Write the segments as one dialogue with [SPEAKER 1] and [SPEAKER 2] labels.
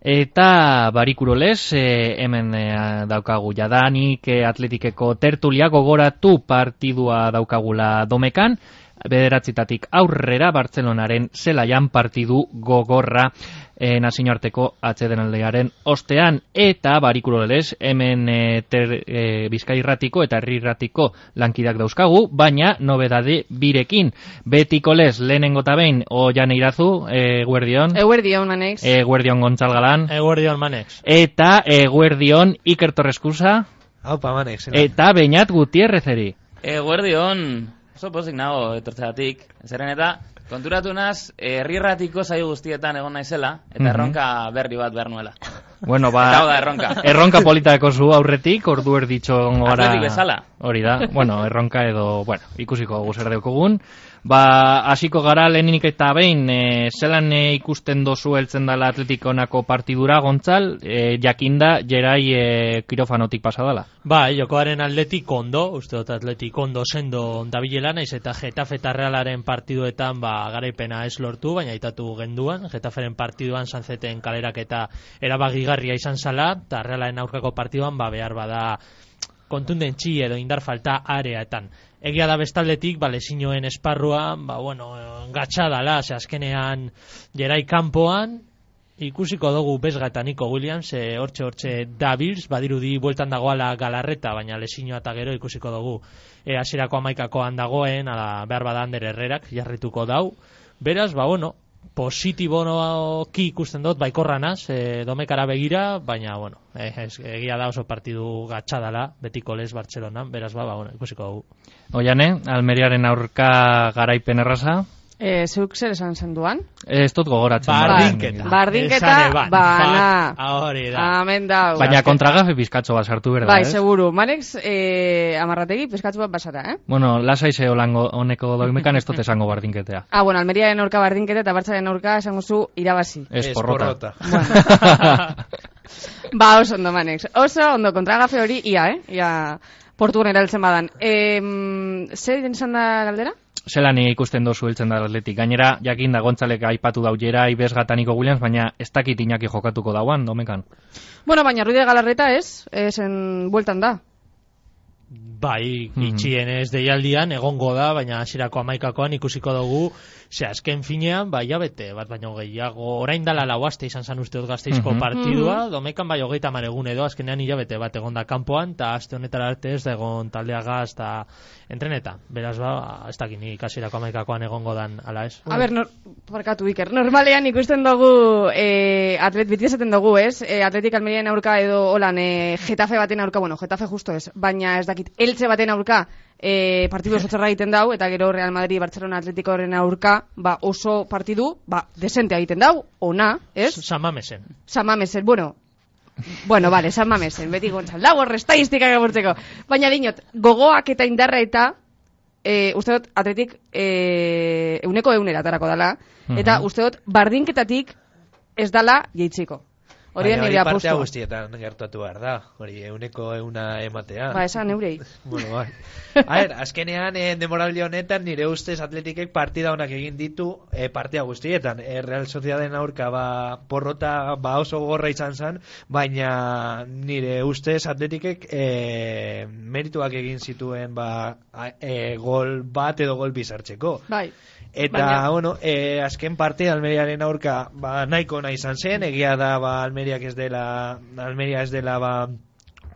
[SPEAKER 1] Eta barikuroles, e, hemen e, daukagu jadanik e, atletikeko tertulia gogoratu partidua daukagula domekan, bederatzitatik aurrera Bartzelonaren zelaian partidu gogorra e, nazioarteko atzedenaldearen ostean eta barikuroles hemen e, ter, e, bizkairratiko eta herrirratiko lankidak dauzkagu, baina nobedade birekin. Betiko lez, lehenengo eta behin, o jane irazu, e, guerdion,
[SPEAKER 2] Eguerdion, Manex.
[SPEAKER 1] e, guerdion Gontzal Galán,
[SPEAKER 3] Eguerdion Eh, manex.
[SPEAKER 1] eta e, guerdion Iker Torreskusa,
[SPEAKER 3] Haupa manex. zela.
[SPEAKER 1] eta Beñat Gutierrezeri.
[SPEAKER 4] Eguerdi hon, oso pozik nago etortzeatik. Zeren eta, konturatu naz, herrirratiko zai guztietan egon naizela, eta
[SPEAKER 1] Mhm.
[SPEAKER 4] erronka berri bat behar nuela.
[SPEAKER 1] Bueno,
[SPEAKER 4] Eta hau da
[SPEAKER 1] ba,
[SPEAKER 4] erronka.
[SPEAKER 1] erronka politako zu aurretik, ordu erditxo gora...
[SPEAKER 4] Atletik bezala.
[SPEAKER 1] Hori da, bueno, erronka edo, bueno, ikusiko guzer deukogun. Ba, hasiko gara lehenik eta behin, e, zelan e, ikusten dozu heltzen dela atletikonako partidura, Gontzal, e, jakinda, jerai e, kirofanotik pasadala.
[SPEAKER 3] Bai, jokoaren atletik ondo, uste dut atletik ondo sendo ondabilela naiz eta Getafe eta Realaren partiduetan ba, garaipena ez lortu, baina aitatu genduan, Getaferen partiduan sanzeten kalerak eta erabagigarria izan zala, eta Realaren aurkako partiduan ba, behar bada kontundentzi edo indar falta areaetan. Egia da bestaldetik, ba, lesinoen esparruan, ba, bueno, gatsa dala, ze azkenean jerai kanpoan, Ikusiko dugu Besga eta Nico Williams, e, hortxe hortxe Davils, badirudi bueltan dagoala galarreta, baina lesinoa eta gero ikusiko dugu e, aserako amaikakoan dagoen, ala, behar bada Ander Herrerak jarrituko dau. Beraz, ba, bueno, positiboki ikusten dut, baikorra naz, e, domekara begira, baina, bueno, e, ez- egia da oso partidu gatxadala, betiko lez Bartzelonan, beraz, ba, ba, bueno, ikusiko dugu.
[SPEAKER 1] Oiane, eh, Almeriaren aurka garaipen erraza,
[SPEAKER 2] E, zeuk zer esan zenduan?
[SPEAKER 1] e, ez dut gogoratzen.
[SPEAKER 3] Bardinketa.
[SPEAKER 1] Ba-
[SPEAKER 2] Bardinketa,
[SPEAKER 3] Esan eban.
[SPEAKER 2] bana.
[SPEAKER 3] Ba- Hori da.
[SPEAKER 2] Amen da.
[SPEAKER 1] Baina kontragafe bizkatxo bat sartu berda,
[SPEAKER 2] Bai,
[SPEAKER 1] ez?
[SPEAKER 2] seguru. Manex, eh, amarrategi, peskatzu bat basara, eh?
[SPEAKER 1] Bueno, lasai ze holango honeko doimekan ez dut esango bardinketea.
[SPEAKER 2] Ah, bueno, Almeriaren aurka bardinketa eta Bartzaren aurka esango zu irabazi.
[SPEAKER 1] Ez porrota.
[SPEAKER 2] Ba, oso ondo, Manex. Oso ondo kontragafe hori, ia, eh? Ia portugun eraltzen badan. Em, zer izan da galdera?
[SPEAKER 1] Zelan ikusten dozu heltzen da atletik. Gainera, jakin da Gontzalek aipatu daujera, Ibes gataniko Williams, baina ez dakit inaki jokatuko dauan, domekan.
[SPEAKER 2] Bueno, baina Ruide Galarreta ez, esen bueltan da.
[SPEAKER 3] Bai,
[SPEAKER 1] Mhm.
[SPEAKER 3] itxienez deialdian egongo da, baina hasierako amaikakoan ikusiko dugu, ze azken finean, bai, jabete, bat baino gehiago, orain dala lau aste izan zan uste dut gazteizko
[SPEAKER 1] Mhm.
[SPEAKER 3] partidua, domekan bai hogeita maregun edo, azkenean hilabete bat egon da kanpoan, eta aste honetara arte ez da egon taldea gaz, eta entreneta, beraz ba, ez dakin nik hasierako amaikakoan egongo dan, ala ez.
[SPEAKER 2] A ber, nor, parkatu Iker, normalean ikusten dugu eh, atlet, beti esaten dugu, ez? Eh, atletik Almerian aurka edo holan eh, Getafe baten aurka, bueno, Getafe justo ez, baina ez dakit, Eltze baten aurka eh, partidu oso txarra egiten dau, eta gero Real Madrid, Barcelona Atletico horren aurka, ba, oso partidu, ba, desente egiten dau, ona, ez?
[SPEAKER 3] Samamesen.
[SPEAKER 2] San Mamesen, bueno, bueno, vale, San Mamesen, beti gontzal, lau horre estadistikak agurtzeko. Baina dinot, gogoak eta indarra eta, e, uste dut, atletik, e, euneko eunera atarako dala, eta
[SPEAKER 1] Mhm.
[SPEAKER 2] uste dut, bardinketatik ez dala jeitziko. Hori da
[SPEAKER 5] Baina
[SPEAKER 2] nire
[SPEAKER 5] partea
[SPEAKER 2] apustua.
[SPEAKER 5] guztietan gertatu behar da, hori euneko euna ematea.
[SPEAKER 2] Ba, esan eurei.
[SPEAKER 5] Bueno, bai. A ber, azkenean eh, demoraldi honetan nire ustez atletikek partida honak egin ditu eh, partida guztietan. Eh, Real Sociedaden aurka ba, porrota ba oso gorra izan zen, baina nire ustez atletikek eh, merituak egin zituen ba, a- eh, gol bat edo gol bizartzeko.
[SPEAKER 2] Bai.
[SPEAKER 5] Eta,
[SPEAKER 2] Baina-
[SPEAKER 5] bueno, eh, azken parte Almeriaren aurka ba, nahiko nahi izan zen, egia da ba, Almeriak ez dela, Almeria ez dela ba,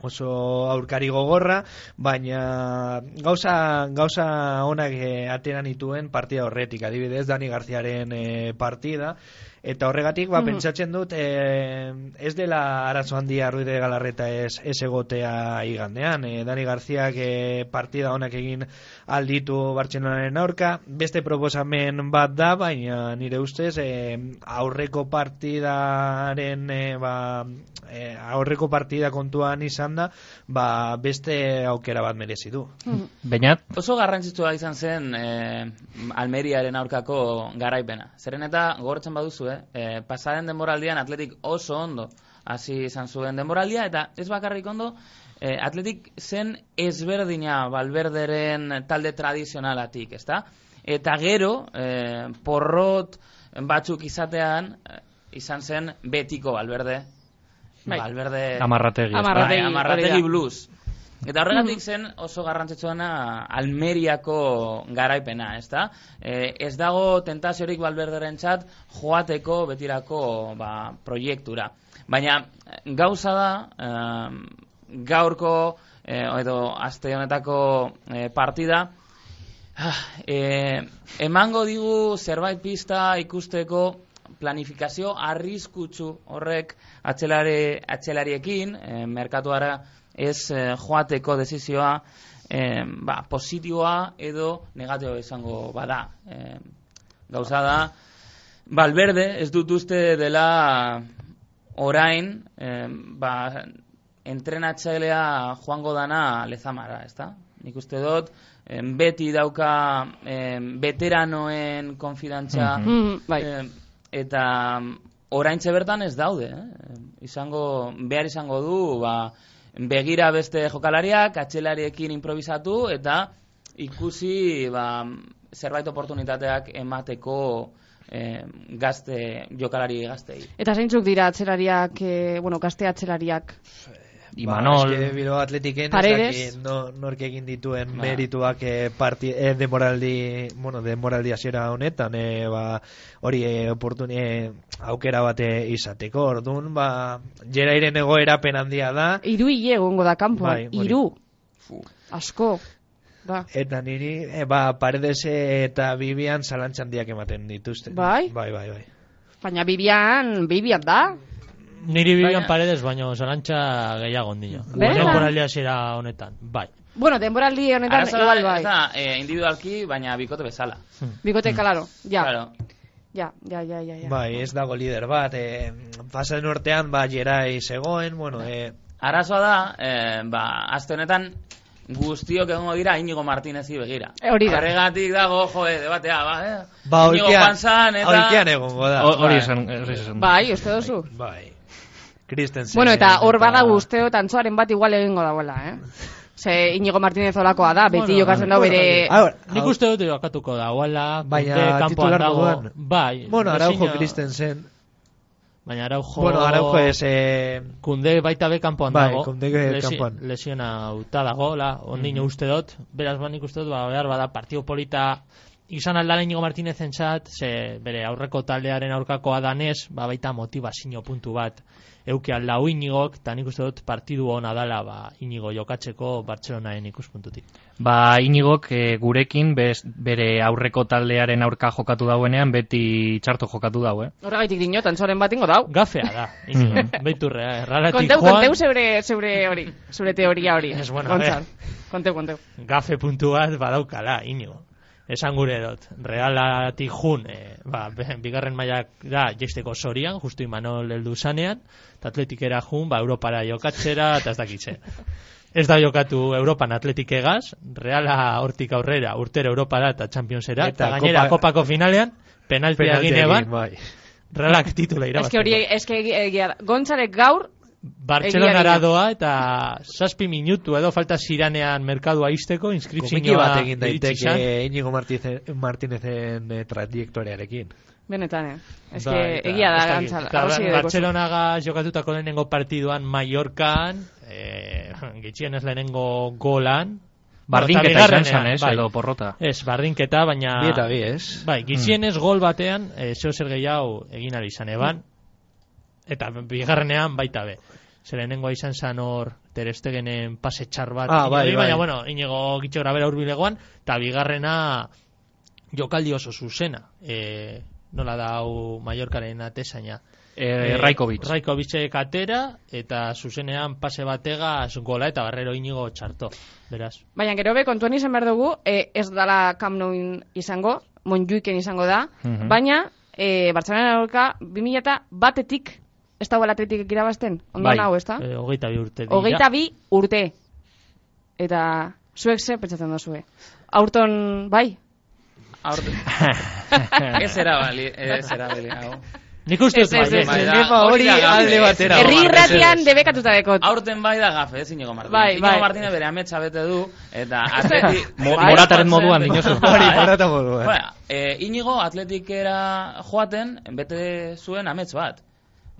[SPEAKER 5] oso aurkari gogorra, baina gauza, gauza onak eh, atera nituen partida horretik, adibidez Dani Garziaren eh, partida, eta horregatik ba,
[SPEAKER 2] Mhm.
[SPEAKER 5] pentsatzen dut eh, ez dela arazo handia Ruiz de Galarreta ez, ez egotea igandean, eh, Dani Garziak eh, partida onak egin alditu Bartzelonaren aurka, beste proposamen bat da, baina nire ustez eh, aurreko partidaren eh, ba, eh, aurreko partida kontuan izan da, ba, beste aukera bat merezi du.
[SPEAKER 1] Beñat,
[SPEAKER 4] Oso garrantzitsua izan zen eh, Almeriaren aurkako garaipena. Zeren eta gogortzen baduzu, eh? eh, pasaren denboraldian atletik oso ondo hasi izan zuen denboraldia, eta ez bakarrik ondo, eh, atletik zen ezberdina balberderen talde tradizionalatik, ezta? Eta gero, eh, porrot batzuk izatean, eh, izan zen betiko Balberde.
[SPEAKER 2] Bai.
[SPEAKER 4] Balberde...
[SPEAKER 3] Eh,
[SPEAKER 1] Amarrategi. ez da?
[SPEAKER 2] Amarrategi.
[SPEAKER 4] Bai,
[SPEAKER 2] hori
[SPEAKER 4] amarrategi
[SPEAKER 2] da. Mm.
[SPEAKER 4] blues. Eta horregatik zen oso garrantzitsuena Almeriako garaipena, ezta? Eh, ez dago tentaziorik balberderen txat joateko betirako ba, proiektura. Baina gauza da, eh, gaurko eh, edo aste honetako eh, partida, Ah, eh, emango digu zerbait pista ikusteko planifikazio arriskutsu horrek atzelare, atzelariekin, eh, merkatuara ez eh, joateko desizioa eh, ba, positiboa edo negatiboa izango bada. Eh, gauza da, Balberde ez dut uste dela orain eh, ba, entrenatzailea joango dana lezamara, ezta? Nik uste dut, em, beti dauka em, veteranoen konfidantza
[SPEAKER 2] Mhm, bai.
[SPEAKER 4] em, eta mm, oraintxe bertan ez daude, eh? izango behar izango du ba, begira beste jokalariak, atxelariekin improvisatu eta ikusi ba, zerbait oportunitateak emateko eh, gazte jokalari gaztei.
[SPEAKER 2] Eta zeintzuk dira atzelariak, eh, bueno, gazte atzelariak.
[SPEAKER 1] Imanol.
[SPEAKER 5] Ba, eske Bilbao Atletiken ez
[SPEAKER 2] Paredes.
[SPEAKER 5] dakit no, nork egin dituen
[SPEAKER 4] Ba.
[SPEAKER 5] merituak eh, parti, eh, demoraldi, bueno, demoraldi hasiera honetan, eh, ba, hori eh, oportuni, eh, aukera bate izateko. Orduan, ba, jerairen egoera penandia da,
[SPEAKER 2] Hiru hile egongo da kanpoan.
[SPEAKER 5] Bai, hori.
[SPEAKER 2] Hiru. Asko. Ba.
[SPEAKER 5] eta niri, eh, ba, paredes eta bibian zalantzan diak ematen dituzte.
[SPEAKER 2] Bai?
[SPEAKER 5] Bai, bai, bai.
[SPEAKER 2] Baina Bibian, Bibian da.
[SPEAKER 3] Niri bibian
[SPEAKER 4] Baina-
[SPEAKER 3] paredes, baino zarantza gehiago ondino.
[SPEAKER 2] Benetan?
[SPEAKER 3] Bueno, por aldea honetan, bai.
[SPEAKER 2] Bueno, denboraldi honetan
[SPEAKER 4] Arazoa
[SPEAKER 2] igual
[SPEAKER 4] da, ez
[SPEAKER 2] bai.
[SPEAKER 4] da, eh, individualki, baina bikote bezala.
[SPEAKER 2] Bikote kalaro. Ja.
[SPEAKER 4] Claro.
[SPEAKER 2] Ja, ja, ja, ja, ja.
[SPEAKER 5] Bai, ez dago lider bat, eh, pasaden urtean, ba, jerai zegoen, bueno, eh,
[SPEAKER 4] Arazoa da, eh, ba, aste honetan guztiok egongo dira Inigo Martinezi begira.
[SPEAKER 2] E, hori da.
[SPEAKER 4] Horregatik dago, joe, debatea, ba, eh?
[SPEAKER 5] ba,
[SPEAKER 4] Íñigo
[SPEAKER 5] oikean,
[SPEAKER 4] joan zan, eta...
[SPEAKER 5] oikean egongo da.
[SPEAKER 1] Ho-
[SPEAKER 3] Ba,
[SPEAKER 1] Hori
[SPEAKER 4] Bai.
[SPEAKER 1] esan, hori esan.
[SPEAKER 2] Bai, uste duzu.
[SPEAKER 5] Bai. Kristensen.
[SPEAKER 2] Bueno, eta hor badago usteo tantzoaren bat igual egingo dagoela, eh? Ze Inigo Martínez olakoa da, beti
[SPEAKER 3] Bueno, bai.
[SPEAKER 2] jokatzen
[SPEAKER 5] bai.
[SPEAKER 2] da bere...
[SPEAKER 5] Ahora,
[SPEAKER 3] Nik uste dut jokatuko da, oala,
[SPEAKER 5] Baina
[SPEAKER 3] kanpoan
[SPEAKER 5] titular
[SPEAKER 3] dago,
[SPEAKER 5] moduan.
[SPEAKER 3] bai.
[SPEAKER 5] Bueno, Araujo
[SPEAKER 3] Mesina-
[SPEAKER 5] Kristensen.
[SPEAKER 3] Baina Araujo...
[SPEAKER 5] Bueno, Araujo es eh,
[SPEAKER 3] Kunde baita be kanpoan
[SPEAKER 5] Bai,
[SPEAKER 3] dago.
[SPEAKER 5] Kunde be kanpoan. Mhm.
[SPEAKER 3] Lesiona uta dago, la, ondino uste dut. Beraz, ba, nik uste dut, ba, behar bada, partido polita izan aldala Inigo Martinez entzat, ze bere aurreko taldearen aurkakoa danez, ba, baita motivazio puntu bat euki aldau Inigok, eta nik uste dut partidu ona dala, ba, Inigo jokatzeko Bartzelonaen ikuspuntutik.
[SPEAKER 1] Ba, Inigok eh, gurekin bez, bere aurreko taldearen aurka jokatu dauenean beti txarto jokatu dau, eh?
[SPEAKER 2] Horregaitik dio, tantzoren bat ingo dau.
[SPEAKER 3] Gafea da, Inigo,
[SPEAKER 5] Mhm.
[SPEAKER 3] beiturrea, erraratik
[SPEAKER 2] Konteu,
[SPEAKER 3] joan,
[SPEAKER 2] konteu zeure, zeure hori, zeure teoria hori.
[SPEAKER 3] Ez, bueno,
[SPEAKER 2] Gontzal.
[SPEAKER 3] a
[SPEAKER 2] Konteu, konteu.
[SPEAKER 3] gafe puntu bat badaukala, Inigo. Esan gure dut, realatik jun, eh, ba, be- bigarren mailak da jesteko sorian, justu Imanol heldu zanean, eta atletikera jun, ba, Europara jokatzera, eta ez dakitze. Ez da jokatu Europan atletik egaz, reala hortik aurrera, urtero Europara eta Championsera,
[SPEAKER 5] Eta
[SPEAKER 3] eta gainera
[SPEAKER 5] Copa-
[SPEAKER 3] kopako finalean, penaltia
[SPEAKER 5] penalti
[SPEAKER 3] egin
[SPEAKER 5] egin,
[SPEAKER 3] eban,
[SPEAKER 5] bai.
[SPEAKER 3] realak titula
[SPEAKER 2] Ez que
[SPEAKER 3] irabazteko.
[SPEAKER 2] hori, ez que egia da. Gontzalek gaur,
[SPEAKER 3] Bartzelonara
[SPEAKER 2] egia.
[SPEAKER 3] doa eta saspi minutu edo falta ziranean merkadua izteko,
[SPEAKER 5] Komiki
[SPEAKER 3] inskripzioa
[SPEAKER 5] bat egin
[SPEAKER 3] iritsi izan.
[SPEAKER 5] daiteke Íñigo Martínezen, Martínezen eh, trajektoriarekin.
[SPEAKER 2] benetan, eh? Ez
[SPEAKER 3] Bai,
[SPEAKER 2] que
[SPEAKER 3] eta-
[SPEAKER 2] egia
[SPEAKER 3] ez
[SPEAKER 2] da,
[SPEAKER 3] dakit.
[SPEAKER 2] gontzal.
[SPEAKER 3] Eta
[SPEAKER 2] Arrosi
[SPEAKER 3] Bar-
[SPEAKER 2] dekozu.
[SPEAKER 3] Bartzelonaga jokatutako lehenengo partiduan Mallorcan, eh, gitxienez lehenengo golan.
[SPEAKER 1] Bardinketa
[SPEAKER 3] Bueno, Ba, eta
[SPEAKER 1] izan zan,
[SPEAKER 3] bigarrenean,
[SPEAKER 1] ez?
[SPEAKER 3] bai.
[SPEAKER 1] Edo porrota.
[SPEAKER 3] Ez, bardinketa, baina...
[SPEAKER 5] Bi eta bi, ez?
[SPEAKER 3] Bai, gitxienez gol batean, e, zeo zer gehiago egin ari izan eban, eta bigarrenean baita be. Zer lehenengoa izan zan hor, terestegenen pase txar bat.
[SPEAKER 5] Ah, bai,
[SPEAKER 3] Iñigori,
[SPEAKER 5] bai.
[SPEAKER 3] Baina, bueno, inigo gitxo grabera urbilegoan, eta bigarrena jokaldi oso zuzena. E, nola da hau Mallorcaren atezaina.
[SPEAKER 1] Eh,
[SPEAKER 3] Eh,
[SPEAKER 1] Raikovic.
[SPEAKER 3] Raikovicek atera, eta zuzenean pase bategaz gola eta barrero inigo txarto. Beraz.
[SPEAKER 2] Baina gero be, kontuan izan behar dugu, eh, ez dala Camp Nou izango, Monjuiken izango da,
[SPEAKER 1] Mhm.
[SPEAKER 2] baina eh, Bartzelonaren aurka 2000 batetik, ez dago atletik irabazten, ondo
[SPEAKER 1] Bai,
[SPEAKER 2] nago, ez da?
[SPEAKER 3] E, hogeita bi urte. dira.
[SPEAKER 2] Hogeita bi urte. Eta zuek ze pentsatzen duzue. Aurton, bai,
[SPEAKER 4] Aurte- ez erabali, ez erabali, hau.
[SPEAKER 3] Nik uste dut
[SPEAKER 2] Ez, ez,
[SPEAKER 3] baietz.
[SPEAKER 2] ez,
[SPEAKER 4] Bai, da,
[SPEAKER 5] Nefa hori
[SPEAKER 4] hori da gabe,
[SPEAKER 5] alde
[SPEAKER 4] ez,
[SPEAKER 5] batera.
[SPEAKER 4] ez,
[SPEAKER 2] Herri
[SPEAKER 4] Omar,
[SPEAKER 2] irratian
[SPEAKER 4] mesedez.
[SPEAKER 2] debekatuta dekot.
[SPEAKER 4] Aurten bai da gafe, ez Inigo Martínez.
[SPEAKER 2] Bai,
[SPEAKER 4] Íñigo
[SPEAKER 2] bai.
[SPEAKER 4] Martínez bere ametsa bete du, eta atleti...
[SPEAKER 1] Mo- Morataren moduan,
[SPEAKER 2] Bai,
[SPEAKER 1] dinosu.
[SPEAKER 5] Hori, morata moduan.
[SPEAKER 4] Bueno, eh, Íñigo atletikera joaten, bete zuen amets bat.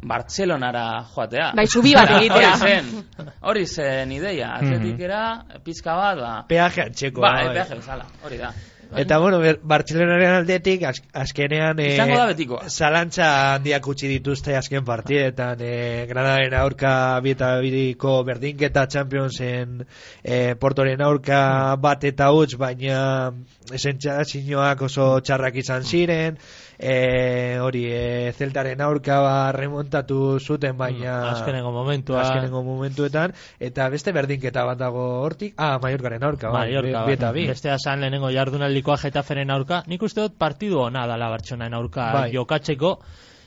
[SPEAKER 4] Bartzelonara joatea.
[SPEAKER 2] Bai, zubi bat
[SPEAKER 4] Eta
[SPEAKER 2] egitea.
[SPEAKER 4] Hori zen, hori zen ideia.
[SPEAKER 5] Mm-hmm.
[SPEAKER 4] Atletikera, pizka bat, ba...
[SPEAKER 5] Peaje antxekoa.
[SPEAKER 4] Ba,
[SPEAKER 5] bai.
[SPEAKER 4] epeaje bezala, hori da.
[SPEAKER 5] Eta bueno, ber- Bartzelonaren aldetik az- azkenean eh,
[SPEAKER 4] Izango da betikoa.
[SPEAKER 5] Zalantza handiak utzi dituzte azken partidetan eh, Granadaren aurka bi eta biriko berdinketa Championsen eh, Portoren aurka bat eta huts baina sentsazioak oso txarrak izan ziren eh, hori eh, Zeltaren aurka ba, remontatu zuten baina
[SPEAKER 3] Azkenengo momentua.
[SPEAKER 5] azkenengo momentuetan eta beste berdinketa bat dago hortik ah, Mallorcaren aurka bai,
[SPEAKER 3] Mallorca,
[SPEAKER 5] bi- bi eta
[SPEAKER 3] bai.
[SPEAKER 5] bi.
[SPEAKER 3] Bestea zan lehenengo jardunaldikoa Getaferen aurka. Nik uste dut partidu ona dala Bartxonaren aurka
[SPEAKER 5] Bai.
[SPEAKER 3] jokatzeko.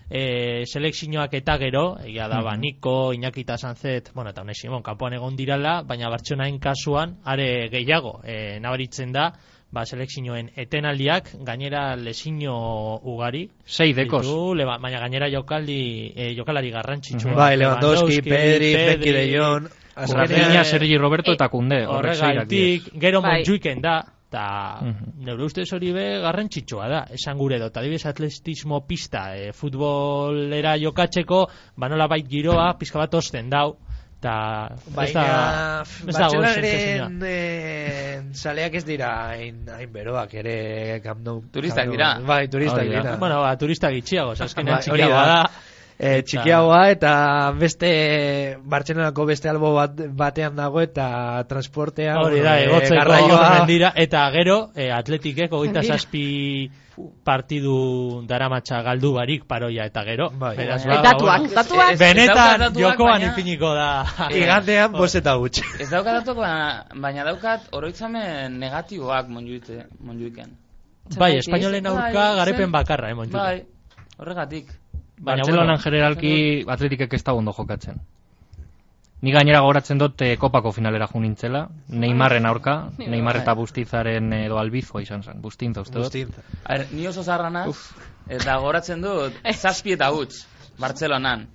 [SPEAKER 3] E, selekzioak eta gero, egia da,
[SPEAKER 5] Mm-hmm.
[SPEAKER 3] ba, Niko, Iñakita Sanzet, bueno, eta Unai Simon, kanpoan egon dirala, baina Bartxonaen kasuan, are gehiago, e, nabaritzen da, ba, selekzioen etenaldiak, gainera lesiño ugari,
[SPEAKER 1] Sei dekoz.
[SPEAKER 3] ditu, leba, baina gainera jokaldi, e, jokalari garrantzitsua.
[SPEAKER 5] Bai, Lewandowski, Pedri, Frenkie de Jong,
[SPEAKER 1] Rafinha,
[SPEAKER 5] azkenean
[SPEAKER 3] Rafinha,
[SPEAKER 1] Sergi Roberto
[SPEAKER 2] Eh,
[SPEAKER 1] eta Kunde. Horrek seirak dira.
[SPEAKER 3] Horregaitik, gero
[SPEAKER 2] Bai.
[SPEAKER 3] Montjuiken da, eta
[SPEAKER 1] Mhm.
[SPEAKER 3] neure ustez hori be garrantzitsua da, esan gure dut, adibidez atletismo pista, e, futbolera jokatzeko, ba nola bait giroa, pizka bat osten dau, eta ez da,
[SPEAKER 5] Baina,
[SPEAKER 3] ez dago
[SPEAKER 5] Bartzelonaren
[SPEAKER 3] sentsazioa.
[SPEAKER 5] eh, zaleak ez dira hain, hain beroak ere Camp Nou.
[SPEAKER 4] Turistak
[SPEAKER 5] Camp Nou.
[SPEAKER 4] dira.
[SPEAKER 5] Bai, turistak
[SPEAKER 1] Hori da.
[SPEAKER 5] dira.
[SPEAKER 3] Bueno, ba, turista gitxiago, azkenean
[SPEAKER 5] Bai, hori
[SPEAKER 3] txikiagoa
[SPEAKER 5] da.
[SPEAKER 3] da.
[SPEAKER 5] Eh, txikiagoa eta beste Bartzelonako beste albo bat, batean dago eta transportea
[SPEAKER 3] Hori da,
[SPEAKER 5] bueno, eh,
[SPEAKER 3] egotzeko
[SPEAKER 5] garraioa-
[SPEAKER 3] mendira, eta gero eh, atletikeko hogeita
[SPEAKER 2] Mendira.
[SPEAKER 3] zazpi partidu daramatza galdu barik paroia eta gero.
[SPEAKER 5] Bai.
[SPEAKER 3] Beraz,
[SPEAKER 5] Eh,
[SPEAKER 3] ba,
[SPEAKER 2] e, datuak,
[SPEAKER 3] bueno,
[SPEAKER 2] datuak.
[SPEAKER 4] Ez- ez
[SPEAKER 3] Benetan
[SPEAKER 4] dauka datuak,
[SPEAKER 3] jokoan
[SPEAKER 4] baina-
[SPEAKER 3] ipiniko da.
[SPEAKER 5] Igandean boseta gutxi.
[SPEAKER 4] Eh, Ez daukat datok, baina, baina daukat oroitzamen negatiboak monjuite, monjuiken.
[SPEAKER 3] Bai,
[SPEAKER 2] Zergatik?
[SPEAKER 3] espainolen aurka
[SPEAKER 4] Bai,
[SPEAKER 3] garepen
[SPEAKER 4] zen-
[SPEAKER 3] bakarra, eh, Montjuic.
[SPEAKER 4] Bai, horregatik.
[SPEAKER 3] Baina,
[SPEAKER 1] Bartzelonan
[SPEAKER 3] bueno,
[SPEAKER 1] generalki atletikek ez da ondo jokatzen. Ni gainera goratzen dut eh, kopako finalera jo nintzela, Neymarren aurka,
[SPEAKER 2] Bai.
[SPEAKER 1] Neymar eta Bustizaren edo albizoa izan zen, Bustinza uste dut.
[SPEAKER 5] Bustinza.
[SPEAKER 4] A ver, ni oso zarra naz, eta goratzen dut, zazpi eta huts, Bartzelonan.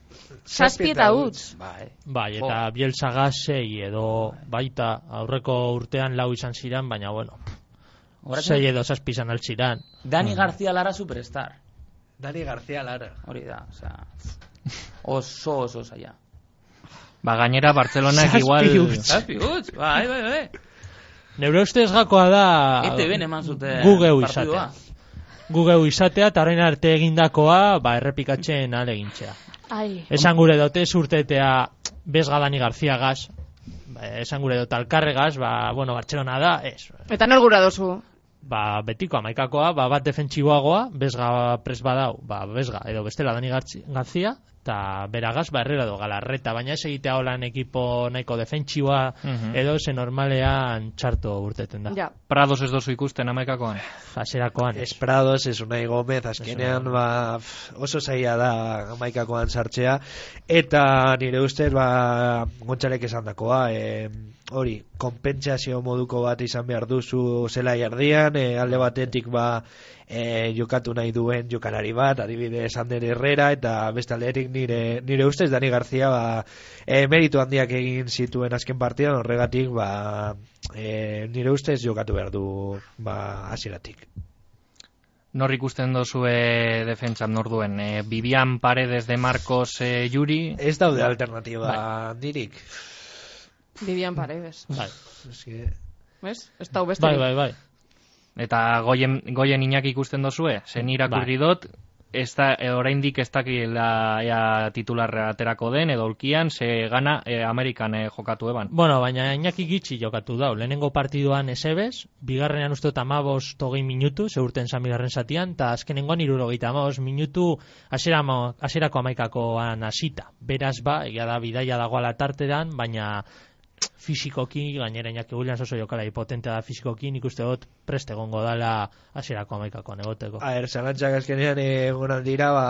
[SPEAKER 2] Zazpi eta utz.
[SPEAKER 4] Bai.
[SPEAKER 3] Bai, eta Bielsa gasei edo baita aurreko urtean lau izan ziren, baina bueno, sei Mm.
[SPEAKER 4] Goratzen,
[SPEAKER 3] edo zazpi izan altziran.
[SPEAKER 4] Dani García Lara superstar.
[SPEAKER 5] Dani García Lara.
[SPEAKER 4] Hori da, osea, oso oso zaila.
[SPEAKER 1] Ba gainera Bartzelonak igual
[SPEAKER 4] Zazpi huts, bai, bai, bai.
[SPEAKER 3] Neure ustez gakoa da
[SPEAKER 4] ETB-n eman zuten
[SPEAKER 3] gu Ba, geu
[SPEAKER 4] partidua.
[SPEAKER 3] izatea. Gu geu izatea eta orain arte egindakoa ba, errepikatzen alegintxea.
[SPEAKER 2] Ai.
[SPEAKER 3] Esan gure dute zurtetea bezga Dani García gaz, ba, esan gure dut alkarregaz, ba, bueno, Bartxelona da, ez,
[SPEAKER 2] Eta nor gura dozu?
[SPEAKER 3] ba, betiko amaikakoa, ba, bat defentsiboagoa, bezga pres badau, ba, bezga, edo bestela Dani Gartzi- García, eta beragaz, ba, herrera do galarreta, baina ez egitea holan ekipo nahiko defentsiboa,
[SPEAKER 1] Mhm.
[SPEAKER 3] edo ze normalean txarto urteten da.
[SPEAKER 2] Ja.
[SPEAKER 1] Prados ez dozu ikusten amaikakoan.
[SPEAKER 3] Haserakoan. ez.
[SPEAKER 5] Esprados, Esunai Gomez, azkenean ba, pf, oso zaila da amaikakoan sartzea, eta nire ustez, ba, gontxarek esan dakoa, e, hori, kompentsazio moduko bat izan behar duzu zela jardian, e, alde batetik ba, e, jokatu nahi duen jokalari bat, adibidez Ander Herrera, eta beste alderik nire, nire ustez Dani García ba, e, meritu handiak egin zituen azken partidan, horregatik ba, e, nire ustez jokatu behar du ba, hasieratik.
[SPEAKER 1] Nor ikusten dozu e, defentsan nor duen, e, Bibian Paredes de Marcos e, Yuri,
[SPEAKER 5] Ez daude alternatiba dirik.
[SPEAKER 2] Vivian Paredes.
[SPEAKER 3] Bai,
[SPEAKER 5] Eske,
[SPEAKER 2] ¿Ves? Ez da beste.
[SPEAKER 3] bai, bai. bai.
[SPEAKER 1] eta goien, goien inak ikusten dozue, zen irakurri dot, ez da, e, oraindik ez dakila ea titularra aterako den, edo ulkian, ze gana e, Amerikan e, jokatu eban.
[SPEAKER 3] Bueno, baina Iñaki gitxi jokatu dau. Lehenengo partiduan esebes, bigarrenean uste amabos togei minutu, zeurten zan bigarren zatian, eta azkenengoan irurogeita amabos minutu hasera mo- haserako amaikakoan hasita. Beraz ba, egia da bidaia dagoala tartedan, baina tsk, fisikoki, gainera Iñaki Williams oso jokalari potente da fisikoki, nik uste dut preste egongo dala hasierako amaikakoan egoteko.
[SPEAKER 5] A ber, zalantzak azkenean egon aldira, ba,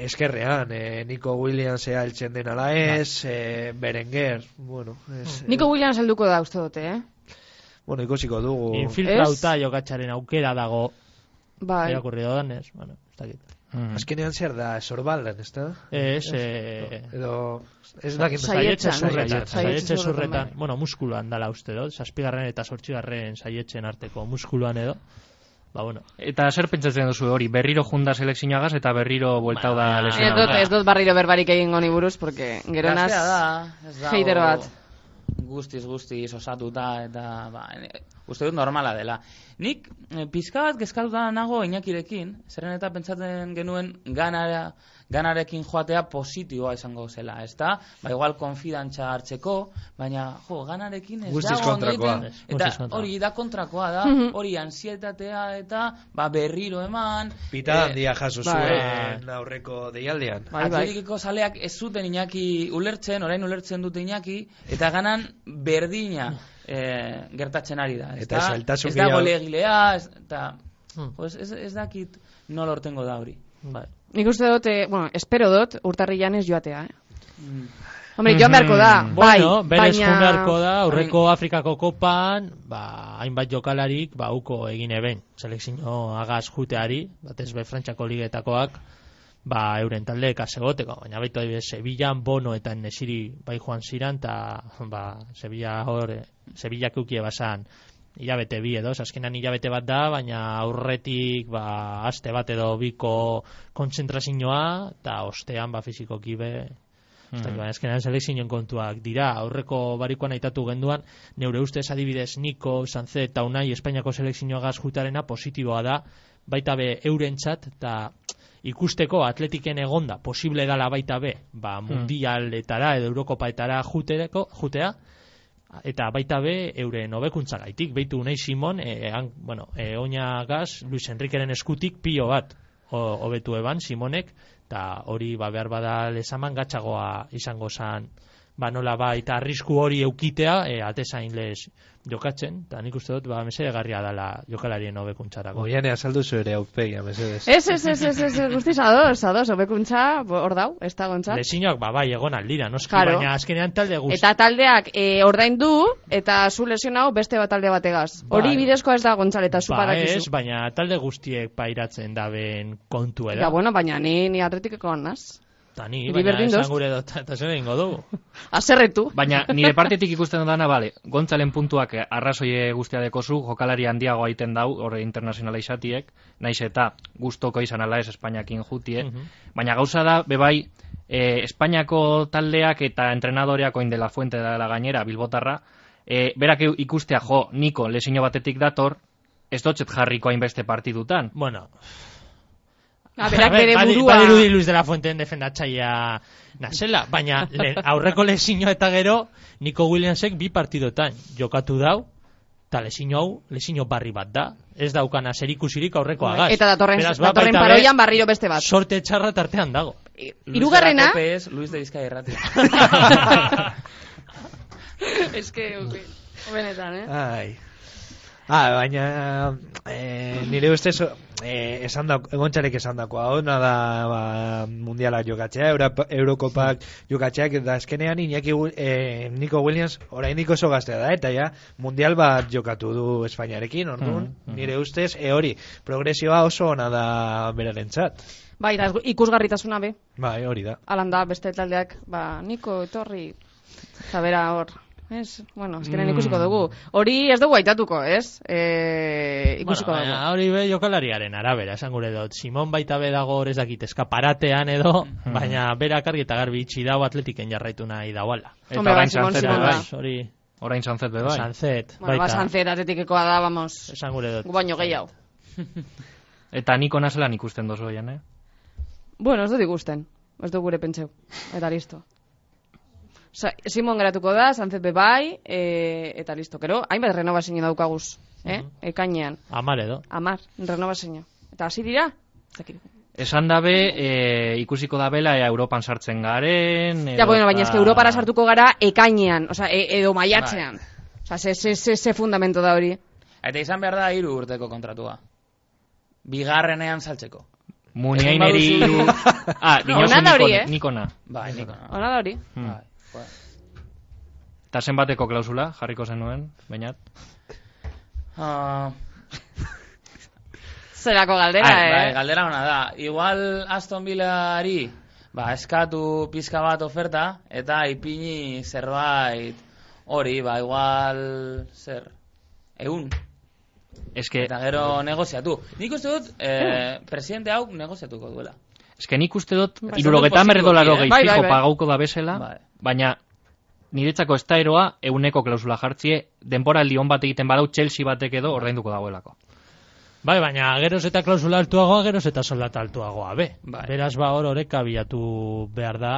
[SPEAKER 5] eskerrean, eh, Nico Williams ea eltzen den ala ez, eh, Berenguer, bueno, ez,
[SPEAKER 2] Nico Williams helduko da uste dute, eh?
[SPEAKER 5] bueno, ikusiko dugu.
[SPEAKER 3] Infiltrauta jokatzaren aukera dago,
[SPEAKER 2] Bai.
[SPEAKER 3] irakurri dodanez, bueno, ez dakit.
[SPEAKER 1] Mm.
[SPEAKER 5] Azkenean zer da, sorbaldan, ez da?
[SPEAKER 3] Ez, eh,
[SPEAKER 5] Edo, ez dakit
[SPEAKER 2] Saihetsa,
[SPEAKER 3] Saietxe
[SPEAKER 2] Saietxan,
[SPEAKER 3] zurretan,
[SPEAKER 2] saihetsa. Saihetxe
[SPEAKER 3] saietxe
[SPEAKER 2] zurretan
[SPEAKER 3] zurretan,
[SPEAKER 2] bai.
[SPEAKER 3] bueno, muskuloan dala uste dut, zazpigarren eta sortxigarren saietxen arteko muskuloan edo, ba, bueno,
[SPEAKER 1] Eta zer pentsatzen duzu hori, berriro junda selekzioagaz eta berriro bueltau da
[SPEAKER 3] Ba,
[SPEAKER 2] Ez dut,
[SPEAKER 1] lesionagaz.
[SPEAKER 2] ez dut barriro berbarik egingo ni buruz, porque gero naz...
[SPEAKER 4] Gaztea da, ez dago
[SPEAKER 2] hater bat.
[SPEAKER 4] Guztiz, guztiz, osatuta, eta, ba, ne- uste dut normala dela. Nik eh, pizka bat kezkatuta nago Inakirekin, zeren eta pentsatzen genuen ganara, ganarekin joatea positiboa izango zela, ezta? Ba, igual konfidantza hartzeko, baina, jo, ganarekin ez
[SPEAKER 5] Guztiz
[SPEAKER 4] dago
[SPEAKER 5] kontrakoa.
[SPEAKER 4] ongi
[SPEAKER 3] Ez,
[SPEAKER 4] egiten.
[SPEAKER 3] guztiz
[SPEAKER 4] Eta
[SPEAKER 3] kontrakoa.
[SPEAKER 4] hori da kontrakoa da,
[SPEAKER 2] Mhm.
[SPEAKER 4] hori ansietatea eta, ba, berriro eman.
[SPEAKER 5] Pita
[SPEAKER 4] eh,
[SPEAKER 5] handia jaso
[SPEAKER 2] bai.
[SPEAKER 5] zuen aurreko deialdean.
[SPEAKER 2] Bai, bai.
[SPEAKER 4] Atletikeko zaleak ez zuten Iñaki ulertzen, orain ulertzen dute Iñaki, eta ganan berdina eh, gertatzen ari da. Ez
[SPEAKER 5] Eta
[SPEAKER 4] da,
[SPEAKER 5] zailtasun
[SPEAKER 4] ez da
[SPEAKER 5] gehiago.
[SPEAKER 4] golegilea, ez, eta,
[SPEAKER 3] Hmm.
[SPEAKER 4] jo, ez, ez, ez dakit nola ortengo da hori.
[SPEAKER 3] bai.
[SPEAKER 2] Nik uste dut, eh, bueno, espero dut, urtarrilan ez joatea, eh?
[SPEAKER 4] Mm.
[SPEAKER 2] Hombre, joan beharko da, bai,
[SPEAKER 3] Mhm. Bueno, berez
[SPEAKER 2] baina... Bai.
[SPEAKER 3] joan beharko da, aurreko Afrikako kopan, ba, hainbat jokalarik, ba, uko egin eben, selekzio agaz juteari, batez be Frantxako ligetakoak, ba, euren taldeek azegoteko, baina baitu adibidez, Sevillan, Bono eta Nesiri bai joan ziran, eta, ba, Sevilla hor, eh, Sevillak eukie basan, hilabete bi edo, azkenan hilabete bat da, baina aurretik, ba, aste bat edo biko kontzentrazioa, eta ostean, ba, fizikoki be, Ez dakit, baina azkenean selekzioen kontuak dira, aurreko barikoan aitatu genduan, neure ustez adibidez Niko, Sanze eta Unai Espainiako selekzioagaz jutarena positiboa da, baita be eurentzat eta ikusteko atletiken egonda, posible dala baita be, ba, mundialetara edo eurokopaetara jutereko, jutea, eta baita be euren hobekuntza gaitik, beitu Unai Simon, e, han, bueno, e, oina gaz, Luis Enriqueren eskutik pilo bat ho- hobetu eban Simonek, eta hori ba, behar bada lezaman gatzagoa izango zan, ba nola ba, eta arrisku hori eukitea, e, atezain lez jokatzen, eta nik uste dut, ba, mesede garria dela jokalarien hobekuntzarako.
[SPEAKER 5] Oiane azaldu zure aurpegia, mesedez.
[SPEAKER 2] Ez, ez, ez, ez, ez, ez, guztiz ados, ados, hobekuntza, bo, hor dau, ez dagoentzat.
[SPEAKER 3] Lezinak, ba, bai, egon aldira, noski,
[SPEAKER 2] Claro.
[SPEAKER 3] baina azkenean talde guzti.
[SPEAKER 2] Eta taldeak e, ordaindu eta zu lesion hau beste bat talde bategaz. Hori
[SPEAKER 3] Bai.
[SPEAKER 2] bidezkoa ez da gontzal eta zu
[SPEAKER 3] Ba ez,
[SPEAKER 2] badakizu.
[SPEAKER 3] baina talde guztiek pairatzen daben kontua
[SPEAKER 2] Ja,
[SPEAKER 3] da.
[SPEAKER 2] bueno, baina ni, ni atletikekoan naz.
[SPEAKER 3] Eta ni,
[SPEAKER 2] Hiri
[SPEAKER 3] baina
[SPEAKER 2] berdin doz.
[SPEAKER 3] esan gure dut, eta zer egingo dugu.
[SPEAKER 2] Aserretu.
[SPEAKER 3] Ba-
[SPEAKER 1] Baina nire partetik ikusten dana, bale, Gontzalen puntuak eh, arrazoie guztia dekozu, jokalari handiago aiten dau, horre internazionala izatiek, naiz eta gustoko izan ala ez Espainiakin jutie,
[SPEAKER 3] Mhm.
[SPEAKER 1] baina gauza da, bebai, eh, Espainiako taldeak eta entrenadoreak oin dela fuente dela gainera, bilbotarra, eh, berak eu- ikustea, jo, niko, lesino batetik dator, ez dotxet jarriko hainbeste partidutan.
[SPEAKER 3] Bueno,
[SPEAKER 2] A, Ah, berak
[SPEAKER 3] A ber,
[SPEAKER 2] bere
[SPEAKER 3] Bai, badi-
[SPEAKER 2] burua.
[SPEAKER 3] badirudi Luis de la Fuenten defendatzaia nazela, baina le, aurreko lesinio eta gero Nico Williamsek bi partidotan jokatu dau, eta lesinio hau, lesinio barri bat da. Ez daukana zerikusirik aurreko agaz.
[SPEAKER 2] Bai, Eta datorren,
[SPEAKER 3] Beraz, ba,
[SPEAKER 2] datorren
[SPEAKER 3] baita be,
[SPEAKER 2] paroian barriro beste bat.
[SPEAKER 3] Sorte txarra tartean dago.
[SPEAKER 2] I-
[SPEAKER 4] Luis
[SPEAKER 2] Hirugarrena,
[SPEAKER 4] de la COPE es Luis de Bizkaia Irrati.
[SPEAKER 2] eske benetan, eh?
[SPEAKER 5] Ai. Ah, baina eh, nire ustez eh, esan da, egontxarek esan dakoa ona da ba, mundiala jokatzea, Europa, Eurokopak jokatzeak eta azkenean Iñaki, Wi- eh, Nico Williams oraindik oso gaztea da eta ja mundial bat jokatu du Espainiarekin, orduan nire ustez eh, hori progresioa oso ona da berarentzat.
[SPEAKER 2] Bai, da, ikusgarritasuna be.
[SPEAKER 5] Bai, hori da.
[SPEAKER 2] Alan da beste taldeak, ba, Niko, etorri, eta bera hor. Ez, bueno, azkenean
[SPEAKER 3] Mm.
[SPEAKER 2] ikusiko dugu. Hori ez dugu aitatuko, ez? E, ikusiko
[SPEAKER 3] Bueno,
[SPEAKER 2] dugu.
[SPEAKER 3] baina hori be jokalariaren arabera, esan gure dut. Simon baita be dago hor ez dakit eskaparatean edo, baina berak argi eta garbi itxi dau atletiken jarraitu nahi dauala.
[SPEAKER 1] Eta
[SPEAKER 2] Hombre,
[SPEAKER 1] orain
[SPEAKER 2] ba, Simon,
[SPEAKER 1] Sanzet
[SPEAKER 2] Simon
[SPEAKER 1] bebai.
[SPEAKER 2] da.
[SPEAKER 3] hori,
[SPEAKER 1] Orain Sanzet bai. bebai.
[SPEAKER 3] Sanzet,
[SPEAKER 2] Bueno, ba, Bai.
[SPEAKER 3] baita,
[SPEAKER 2] sanzer atletikekoa da, vamos,
[SPEAKER 3] esan gure dut.
[SPEAKER 2] gu baino gehiago.
[SPEAKER 1] Eta niko nazelan ikusten dozu, oian, eh?
[SPEAKER 2] Bueno, ez dut ikusten. Ez dut gure pentseu. Eta listo. Sa, Simon geratuko da, Sanzet bebai, e, eta listo. Gero, hainbat renovazio daukaguz, eh?
[SPEAKER 4] Mhm.
[SPEAKER 2] Ekainean.
[SPEAKER 3] Amar edo.
[SPEAKER 2] Amar, renovazio. Eta hasi dira? Ez dakit.
[SPEAKER 1] Esan dabe, e, ikusiko da bela ea Europan sartzen garen...
[SPEAKER 2] Ja, bueno, baina ez que Europara
[SPEAKER 1] sartu
[SPEAKER 2] sartuko gara ekainean, oza, e, edo maiatzean.
[SPEAKER 4] Bai.
[SPEAKER 2] Oza, ze, ze, ze, ze fundamento da hori.
[SPEAKER 4] eta izan behar da hiru urteko kontratua. Bigarrenean saltzeko.
[SPEAKER 1] Muniaineri...
[SPEAKER 4] Egin
[SPEAKER 1] ah, dinosu
[SPEAKER 2] Ona da hori,
[SPEAKER 1] nikone-
[SPEAKER 2] eh?
[SPEAKER 1] nikona.
[SPEAKER 4] Ba, niko. no?
[SPEAKER 2] Hona da hori.
[SPEAKER 1] Hmm.
[SPEAKER 4] Bai, joder.
[SPEAKER 1] Eta zenbateko klausula, jarriko zenuen, bainat.
[SPEAKER 4] Ah,
[SPEAKER 6] Zelako galdera,
[SPEAKER 4] Ai, bai,
[SPEAKER 6] eh?
[SPEAKER 4] galdera ona da. Igual Aston Villari ba, eskatu pizka bat oferta eta ipini zerbait hori, ba, igual zer, eun.
[SPEAKER 1] Eske,
[SPEAKER 4] Eta gero negoziatu. Nik uste dut, eh, presidente hau negoziatuko duela.
[SPEAKER 1] eske nik uste dut,
[SPEAKER 4] Bai,
[SPEAKER 1] irurogeta
[SPEAKER 4] positiboki,
[SPEAKER 1] merdolaro
[SPEAKER 4] eh?
[SPEAKER 1] gehi
[SPEAKER 2] Bai, bai,
[SPEAKER 1] fijo
[SPEAKER 2] bai.
[SPEAKER 1] pagauko da bezala,
[SPEAKER 4] Bai.
[SPEAKER 1] baina niretzako ez da eroa euneko klausula jartzie, denbora lion bat egiten badau Chelsea batek edo ordainduko dagoelako.
[SPEAKER 3] Bai, baina geroz eta klausula altuagoa, geroz eta soldata altuagoa, be.
[SPEAKER 4] Bai.
[SPEAKER 3] Beraz, ba, hor oreka bilatu behar da.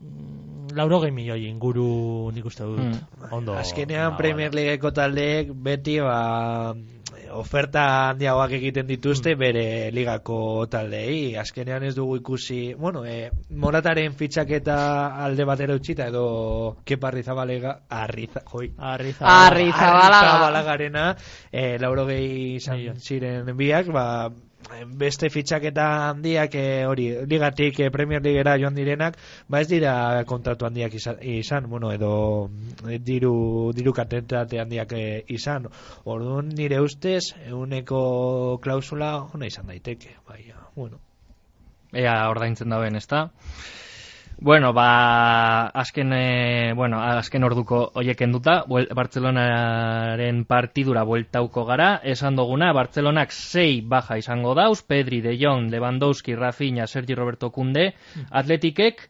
[SPEAKER 3] Mm, Laurogei milioi inguru nik uste dut.
[SPEAKER 1] Mm.
[SPEAKER 3] Ondo. Ba,
[SPEAKER 5] Azkenean
[SPEAKER 3] dagoela.
[SPEAKER 5] Premier Leagueko taldeek beti ba, oferta handiagoak egiten dituzte bere ligako taldei. Azkenean ez dugu ikusi, bueno, e, Morataren fitxaketa alde batera utxita edo Kepa Arrizabalaga Arriza, joi.
[SPEAKER 2] Ah,
[SPEAKER 3] Arrizabalaga.
[SPEAKER 6] Arrizabalaga.
[SPEAKER 5] Arrizabalagarena, eh, laurogei izan
[SPEAKER 3] Milioi.
[SPEAKER 5] ziren biak, ba, beste fitxaketa handiak eh, hori ligatik eh, Premier Ligera joan direnak ba ez dira kontratu handiak izan, izan bueno edo eh, diru diru kantitate handiak eh, izan orduan nire ustez uneko klausula ona izan daiteke bai bueno
[SPEAKER 1] Ea ordaintzen da ben, ezta? Bueno, ba, azken, e, bueno, azken orduko hoiek enduta, buel- Bartzelonaren partidura bueltauko gara, esan duguna, Bartzelonak sei baja izango dauz, Pedri, De Jong, Lewandowski, Rafinha, Sergi Roberto Kunde, atletikek,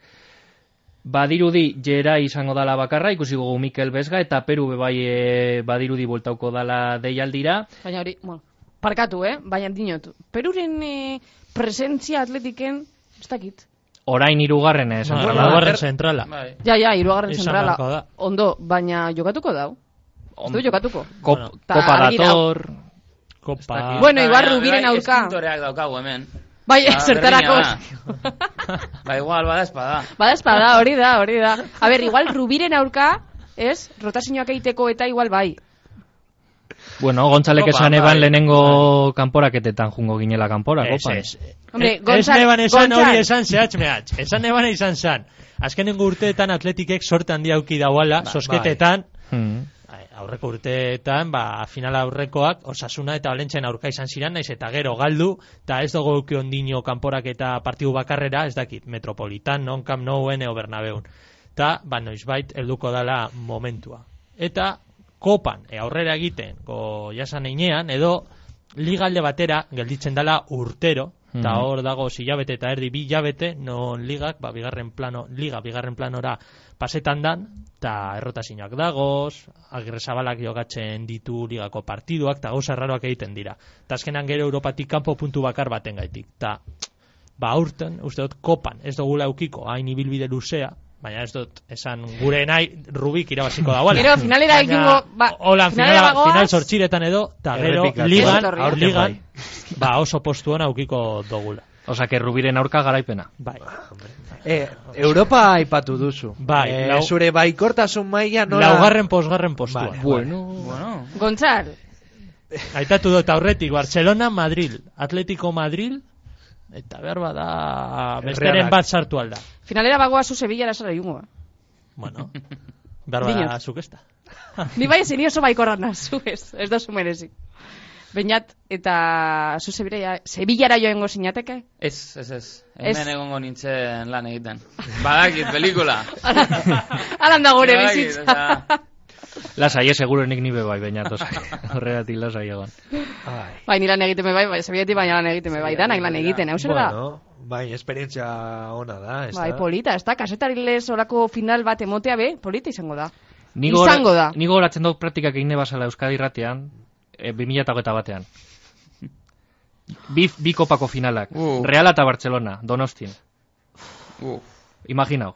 [SPEAKER 1] Badirudi jera izango dala bakarra, ikusi dugu Mikel Besga, eta Peru bai e, badirudi bueltauko dala deialdira.
[SPEAKER 2] Baina hori, bueno, parkatu, eh? Baina dinot, Peruren eh, presentzia atletiken, ez dakit.
[SPEAKER 1] Orain irugarren esan
[SPEAKER 3] Bueno,
[SPEAKER 1] dala.
[SPEAKER 3] laugarren zentrala.
[SPEAKER 4] Bai.
[SPEAKER 2] Ja, ja, iruagarren
[SPEAKER 3] Izan
[SPEAKER 2] zentrala.
[SPEAKER 3] beharko da.
[SPEAKER 2] Ondo, baina jokatuko dau. Ez du jokatuko.
[SPEAKER 1] Kop,
[SPEAKER 3] Bueno.
[SPEAKER 2] Ta
[SPEAKER 1] kopa
[SPEAKER 2] argi dago.
[SPEAKER 1] dator,
[SPEAKER 3] Kopa.
[SPEAKER 2] Bueno,
[SPEAKER 4] Eta
[SPEAKER 2] igual
[SPEAKER 4] bai,
[SPEAKER 2] Rubiren
[SPEAKER 4] bai,
[SPEAKER 2] aurka.
[SPEAKER 4] eskintoreak daukagu hemen.
[SPEAKER 2] Bai,
[SPEAKER 4] Ba,
[SPEAKER 2] zertarako. Ba,
[SPEAKER 4] berdina da. ba, igual, bada espada.
[SPEAKER 2] Bada espada, hori da, hori da. A ber, igual Rubiren aurka, ez? Rotazioak egiteko eta igual bai.
[SPEAKER 1] Bueno, Gontzalek
[SPEAKER 4] Kopa,
[SPEAKER 1] esan eban
[SPEAKER 4] bai.
[SPEAKER 1] lehenengo kanporaketetan jungo ginela kanpora,
[SPEAKER 3] Ez,
[SPEAKER 1] kopan.
[SPEAKER 3] ez.
[SPEAKER 2] Hombre,
[SPEAKER 3] Ez-
[SPEAKER 2] Gontzal-
[SPEAKER 3] ez neban esan
[SPEAKER 2] Gontzal.
[SPEAKER 3] hori esan zehatz mehatz. Esan neban izan zan. Azkenengo urteetan atletikek sorte handia uki dauala,
[SPEAKER 2] Ba, bai.
[SPEAKER 3] sosketetan,
[SPEAKER 1] Hmm.
[SPEAKER 3] Ai, aurreko urteetan, ba, finala aurrekoak, osasuna eta Valentzen aurka izan ziren, naiz eta gero galdu, eta ez dugu euki ondino kanporak eta partidu bakarrera, ez dakit, Metropolitan, non Camp Nouen, eo Bernabeun. Eta, ba, noizbait, helduko dala momentua. Eta, kopan, e, aurrera egiten, go, jasan einean, edo, ligalde batera, gelditzen dala urtero, eta
[SPEAKER 1] Mhm.
[SPEAKER 3] hor dago hilabete eta erdi bi hilabete, non ligak, ba, bigarren plano, liga bigarren planora pasetan dan, eta errotasinak dagoz, agresabalak jogatzen ditu ligako partiduak, eta gauza raroak egiten dira. Eta azkenan gero Europatik kanpo puntu bakar baten gaitik. Ta, ba, aurten, uste dut, kopan, ez dugula eukiko, hain ibilbide luzea, baina ez dut, esan gure nahi rubik irabaziko dauala.
[SPEAKER 2] Gero finalera
[SPEAKER 3] Baina,
[SPEAKER 2] ekingo, ba,
[SPEAKER 3] hola,
[SPEAKER 2] finalera
[SPEAKER 3] finala-
[SPEAKER 2] bagoaz.
[SPEAKER 3] final sortxiretan edo, eta gero,
[SPEAKER 5] Errepikatu.
[SPEAKER 3] ligan,
[SPEAKER 2] Etorri.
[SPEAKER 3] aur ligan,
[SPEAKER 5] Bai.
[SPEAKER 3] ba oso postu hona eukiko dugula.
[SPEAKER 1] Osa, que Rubiren aurka garaipena.
[SPEAKER 3] Bai.
[SPEAKER 5] e, Europa aipatu duzu
[SPEAKER 3] Bai,
[SPEAKER 5] Eh,
[SPEAKER 3] lau-
[SPEAKER 5] zure baikortasun maila nola
[SPEAKER 3] Laugarren posgarren postua.
[SPEAKER 5] Vale.
[SPEAKER 1] Bueno.
[SPEAKER 4] Bueno,
[SPEAKER 2] Gontzal,
[SPEAKER 3] Aitatu dut aurretik, Barcelona, Madrid, Atletico Madrid, eta behar bada besteren
[SPEAKER 5] Realak.
[SPEAKER 3] bat sartu alda.
[SPEAKER 2] finalera bagoa zu Sevilla lasara jungo.
[SPEAKER 3] Bueno, behar bada
[SPEAKER 2] Dinot.
[SPEAKER 3] zuk ez da.
[SPEAKER 2] Ni bai ezin oso baikorra nazu, ez, ez da merezi. Beinat, eta zu Sevilla, Sevillara joengo zinateke?
[SPEAKER 4] ez, ez, ez.
[SPEAKER 2] Ez.
[SPEAKER 4] Hemen egongo nintzen lan egiten. Badakit, pelikula.
[SPEAKER 2] Alan da gure
[SPEAKER 4] Badakit,
[SPEAKER 2] bizitza.
[SPEAKER 4] osea,
[SPEAKER 1] Lasai, eh, seguro nik nibe bai, baina tosa. Horregatik lasai egon.
[SPEAKER 5] Ai.
[SPEAKER 2] Bai, ni lan egiten bai, bai, Sevillatik baina lan egiten bai, danak lan egiten, hau zer da?
[SPEAKER 5] bueno, bai, esperientzia ona da, ez
[SPEAKER 2] Bai, polita, ez da, kasetari lez orako final bat emotea be, polita izango da.
[SPEAKER 1] Ni gora-
[SPEAKER 2] Izango da.
[SPEAKER 1] Ni goratzen dut praktikak egine basala Euskadi irratean, e, 2008 batean. Bi, bi kopako finalak.
[SPEAKER 4] Uh.
[SPEAKER 1] Real eta Barcelona, Donostin.
[SPEAKER 4] uf,
[SPEAKER 1] Imaginau.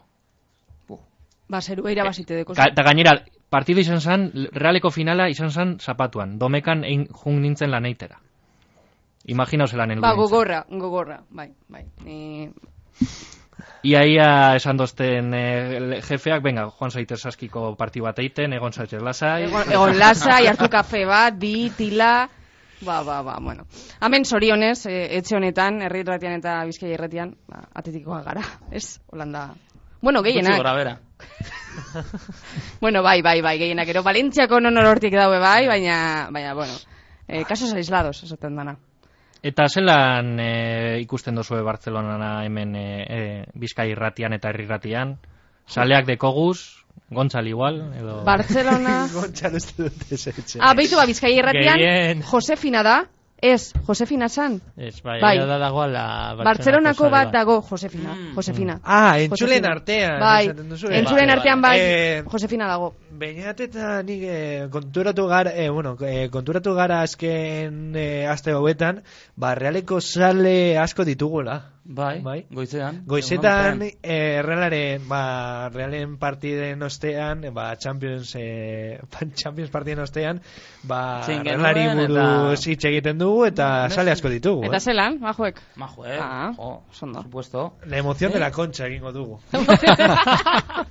[SPEAKER 2] Ba, zeru
[SPEAKER 4] Eh,
[SPEAKER 2] irabazite deko.
[SPEAKER 1] Ka- Eta gainera, partidu izan zan, realeko finala izan zan zapatuan. Domekan egin jung nintzen laneitera. Imaginau zelan heldu
[SPEAKER 2] Ba,
[SPEAKER 1] nintzen.
[SPEAKER 2] gogorra, gogorra, bai, bai. Ni...
[SPEAKER 1] Ia ia esan dozten eh, jefeak, venga, joan zaitez askiko parti bat eiten, egon zaitez
[SPEAKER 4] Bai.
[SPEAKER 1] lasai.
[SPEAKER 2] Egon, egon lasa, hartu kafe bat, bi, tila... Ba, ba, ba, bueno. Hemen sorionez, eh, etxe honetan, herri irratian eta bizkaia irratian, ba, atetikoa gara, ez? Holanda... Bueno,
[SPEAKER 4] gutxi
[SPEAKER 2] gehienak.
[SPEAKER 4] gora bera.
[SPEAKER 2] Bueno, bai, bai, bai, gehienak. Ero, Valentziako non hortik daue bai, baina, baina, bueno. Eh, kasos aislados, esaten dana.
[SPEAKER 1] Eta zelan e, ikusten duzue Bartzelonana hemen e, e, Bizkai irratian eta herri irratian? Saleak dekoguz, Gontzal igual,
[SPEAKER 4] Oh.
[SPEAKER 1] edo...
[SPEAKER 2] Barcelona...
[SPEAKER 5] Gontxan uste dut ez etxe.
[SPEAKER 2] ah, beitu ba, bizkai
[SPEAKER 3] Gehien.
[SPEAKER 2] irratian, Josefina da, ez, Josefina san.
[SPEAKER 3] Ez, bai,
[SPEAKER 2] Bai.
[SPEAKER 3] bai. da dagoala...
[SPEAKER 2] Bartzelonako bat
[SPEAKER 3] da
[SPEAKER 2] dago Josefina,
[SPEAKER 4] Mm.
[SPEAKER 2] Josefina.
[SPEAKER 5] Ah, entzulen
[SPEAKER 2] Josefina.
[SPEAKER 5] artean.
[SPEAKER 2] Bai,
[SPEAKER 5] esaten duzu, eh?
[SPEAKER 2] entzulen
[SPEAKER 4] Vale,
[SPEAKER 2] artean bai,
[SPEAKER 5] Eh,
[SPEAKER 2] Josefina dago.
[SPEAKER 5] Beñat eta nik eh, konturatu gara, eh, bueno, eh, konturatu gara azken eh, aste hauetan, ba, realeko sale asko ditugula.
[SPEAKER 4] Bai,
[SPEAKER 5] Bai.
[SPEAKER 4] goizean.
[SPEAKER 5] Goizetan,
[SPEAKER 4] egunon
[SPEAKER 5] eh, realaren, ba, realen partiden ostean, eh, ba, Champions, eh, pan- Champions partiden ostean, ba,
[SPEAKER 4] Zein
[SPEAKER 5] realari
[SPEAKER 4] genuen
[SPEAKER 5] buruz
[SPEAKER 4] eta-
[SPEAKER 5] hitz egiten dugu eta
[SPEAKER 4] Messi.
[SPEAKER 5] sale asko ditugu.
[SPEAKER 2] Eta
[SPEAKER 5] Eh?
[SPEAKER 2] zelan, bajoek.
[SPEAKER 4] Ma joder,
[SPEAKER 2] Ah,
[SPEAKER 4] eh? jo,
[SPEAKER 2] oso ondo.
[SPEAKER 4] supuesto.
[SPEAKER 5] La emoción
[SPEAKER 2] Eh.
[SPEAKER 5] de la concha egingo dugu.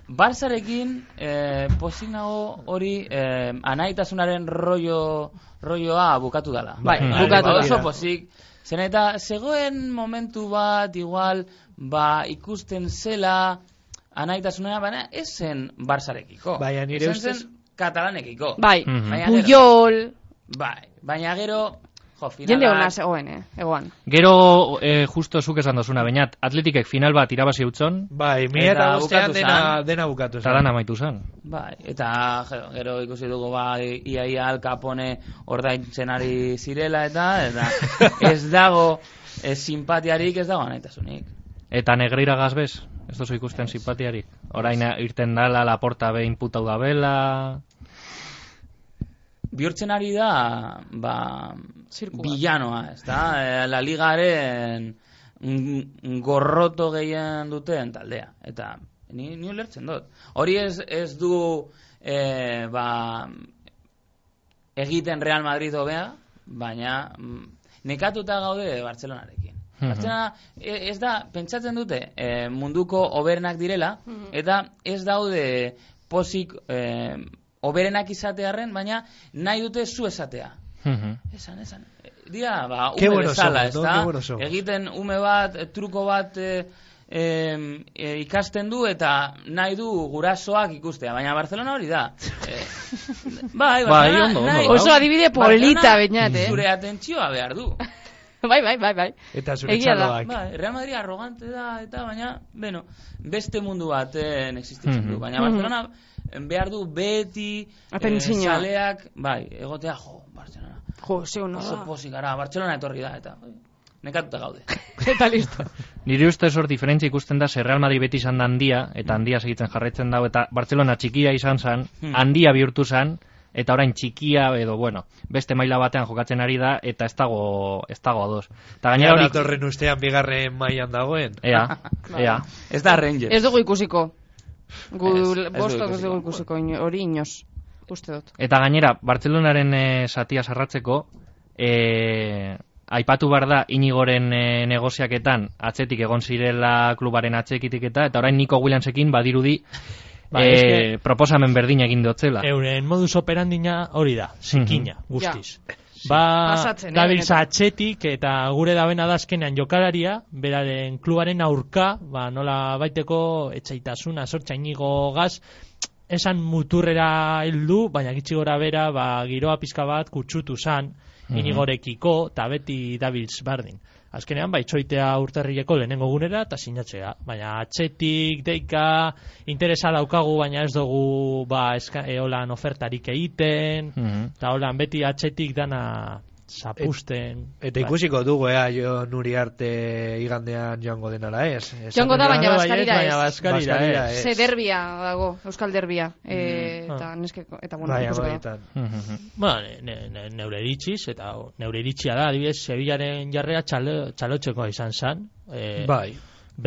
[SPEAKER 4] Barzarekin, eh, pozik nago hori eh, anaitasunaren rollo, rolloa bukatu dala.
[SPEAKER 2] Bai,
[SPEAKER 5] Vale,
[SPEAKER 2] bukatu da.
[SPEAKER 5] hori
[SPEAKER 4] Oso pozik. Zen eta, zegoen momentu bat, igual, ba, ikusten zela, anaitasuna, baina ez zen Barzarekiko.
[SPEAKER 5] Baina Bai, nire
[SPEAKER 4] Ezen
[SPEAKER 5] ustez-
[SPEAKER 4] zen katalanekiko.
[SPEAKER 2] Bai,
[SPEAKER 1] Mhm.
[SPEAKER 4] Baina gero-
[SPEAKER 2] Puyol,
[SPEAKER 4] Bai, baina gero, jo, finalak...
[SPEAKER 2] jende hona zegoen, eh, egoan.
[SPEAKER 1] Gero, e, justo zuk esan dozuna, bainat, atletikek final bat irabazi utzon,
[SPEAKER 5] Bai, mila eta
[SPEAKER 4] Eta
[SPEAKER 5] bostean
[SPEAKER 4] bukatu
[SPEAKER 5] dena,
[SPEAKER 4] zan.
[SPEAKER 5] dena bukatu.
[SPEAKER 1] eta
[SPEAKER 5] zan.
[SPEAKER 1] dan amaitu zan.
[SPEAKER 4] Bai, eta gero, gero ikusi dugu ba, ia ia Al Capone ordaintzen ari zirela eta eta ez dago ez simpatiarik ez dago anaitasunik.
[SPEAKER 1] Eta negreira gazbez, ez dozu ikusten simpatiarik. Orain irten dala, laporta behin putau da bela...
[SPEAKER 4] Bihurtzen ari da ba
[SPEAKER 2] Zirku bat.
[SPEAKER 4] villanoa, ezta? E, La Ligaren mm, gorroto gehien duten taldea eta ni ni ulertzen dut. Hori ez ez du e, ba egiten Real Madrid hobea, baina mm, nekatuta gaude Bartzelonarekin.
[SPEAKER 1] Mhm.
[SPEAKER 4] Bartzelona e- ez da, pentsatzen dute e, munduko oberenak direla, eta ez daude pozik e, oberenak izatearren, baina nahi dute zu esatea.
[SPEAKER 1] Mhm.
[SPEAKER 4] Esan, esan. E, Dira, ba,
[SPEAKER 5] Qué
[SPEAKER 4] ume
[SPEAKER 5] bueno
[SPEAKER 4] bezala,
[SPEAKER 5] somos,
[SPEAKER 4] ezta?
[SPEAKER 5] no? Qué bueno somos.
[SPEAKER 4] Egiten ume bat, e, truko bat e, em, e, ikasten du eta nahi du gurasoak ikustea, baina Barcelona hori da. E, bai,
[SPEAKER 1] Bai,
[SPEAKER 4] Barcelona
[SPEAKER 1] ondo, ondo
[SPEAKER 4] nahi-
[SPEAKER 1] dago.
[SPEAKER 2] Oso adibide polita,
[SPEAKER 4] Barcelona
[SPEAKER 2] bainat, eh?
[SPEAKER 4] Zure atentzioa behar du.
[SPEAKER 2] Bai, bai, bai, bai.
[SPEAKER 5] Eta zure
[SPEAKER 2] Egia da.
[SPEAKER 5] txaloak.
[SPEAKER 4] Bai, Real Madrid arrogante da eta baina, bueno, beste mundu baten existitzen
[SPEAKER 1] Mhm.
[SPEAKER 4] du, baina Barcelona behar du beti eh,
[SPEAKER 2] Atentzioa.
[SPEAKER 4] zaleak, bai, egotea jo, Barcelona.
[SPEAKER 2] Jo, zeu no
[SPEAKER 4] Oso
[SPEAKER 2] da.
[SPEAKER 4] pozik gara, Bartzelona etorri da, eta oi, nekatuta gaude.
[SPEAKER 2] Eta listo.
[SPEAKER 1] Nire ustez hor diferentzia ikusten da, ze Real Madrid beti izan da handia, eta handia segitzen jarretzen dago, eta Barcelona txikia izan zan,
[SPEAKER 4] Hmm.
[SPEAKER 1] handia bihurtu zan, eta orain txikia edo, bueno, beste maila batean jokatzen ari da, eta ez dago, ez dago ados. Eta gainera
[SPEAKER 5] Gainera
[SPEAKER 1] hori...
[SPEAKER 5] datorren ustean bigarren mailan dagoen.
[SPEAKER 1] Ea, ea.
[SPEAKER 4] Ez da Rangers.
[SPEAKER 2] Ez dugu ikusiko. Gu,
[SPEAKER 4] Ez, ez dugu
[SPEAKER 2] bostok ez dugu
[SPEAKER 4] ikusiko.
[SPEAKER 2] ikusiko, ino- hori inoz. Uste dut.
[SPEAKER 1] Eta gainera, Bartzelonaren eh, satia sarratzeko, eh, aipatu behar da inigoren eh, negoziaketan atzetik egon zirela klubaren atzekitik eta, eta orain Nico Williamsekin badirudi
[SPEAKER 3] Ba,
[SPEAKER 1] eh,
[SPEAKER 3] eske-
[SPEAKER 1] proposamen berdin egin dotzela.
[SPEAKER 3] Euren modus operandina hori da, zikina, guztiz. Ba,
[SPEAKER 2] Pasatzen, eh,
[SPEAKER 3] dabiltza
[SPEAKER 2] benetan.
[SPEAKER 3] atxetik eta gure dabena da azkenean jokalaria, beraren klubaren aurka, ba, nola baiteko etxaitasuna, sortxainigo gaz, esan muturrera heldu, baina gitxi gora bera, ba, giroa pizka bat kutsutu zan, inigorekiko, eta beti dabiltz bardin. Azkenean, bai, txoitea urtarrileko lehenengo gunera eta sinatzea. Baina atxetik, deika, interesa daukagu, baina ez dugu, ba, eska, eolan ofertarik egiten,
[SPEAKER 1] Mhm.
[SPEAKER 3] Eta holan, beti atxetik dana zapusten.
[SPEAKER 5] Eta ikusiko dugu, ea, jo nuri arte igandean joango denala eh? ez. Esaten
[SPEAKER 2] Joango da, baina
[SPEAKER 3] Bai,
[SPEAKER 2] Baskarira
[SPEAKER 3] ez,
[SPEAKER 2] ez.
[SPEAKER 3] Baina Baskarira,
[SPEAKER 5] Baskarira eh?
[SPEAKER 3] ez.
[SPEAKER 5] ez.
[SPEAKER 2] Ze derbia dago, Euskal derbia. Eh,
[SPEAKER 3] ah.
[SPEAKER 2] eta neskeko, eta bueno,
[SPEAKER 5] Bai,
[SPEAKER 2] ikusiko da.
[SPEAKER 5] amaietan.
[SPEAKER 1] Mhm.
[SPEAKER 3] Ba, ne, ne, ne, neure iritziz, eta o, neure iritzia da, adibidez, Sevillaren jarrea txalo, txalotxekoa izan zan. E,
[SPEAKER 5] Bai.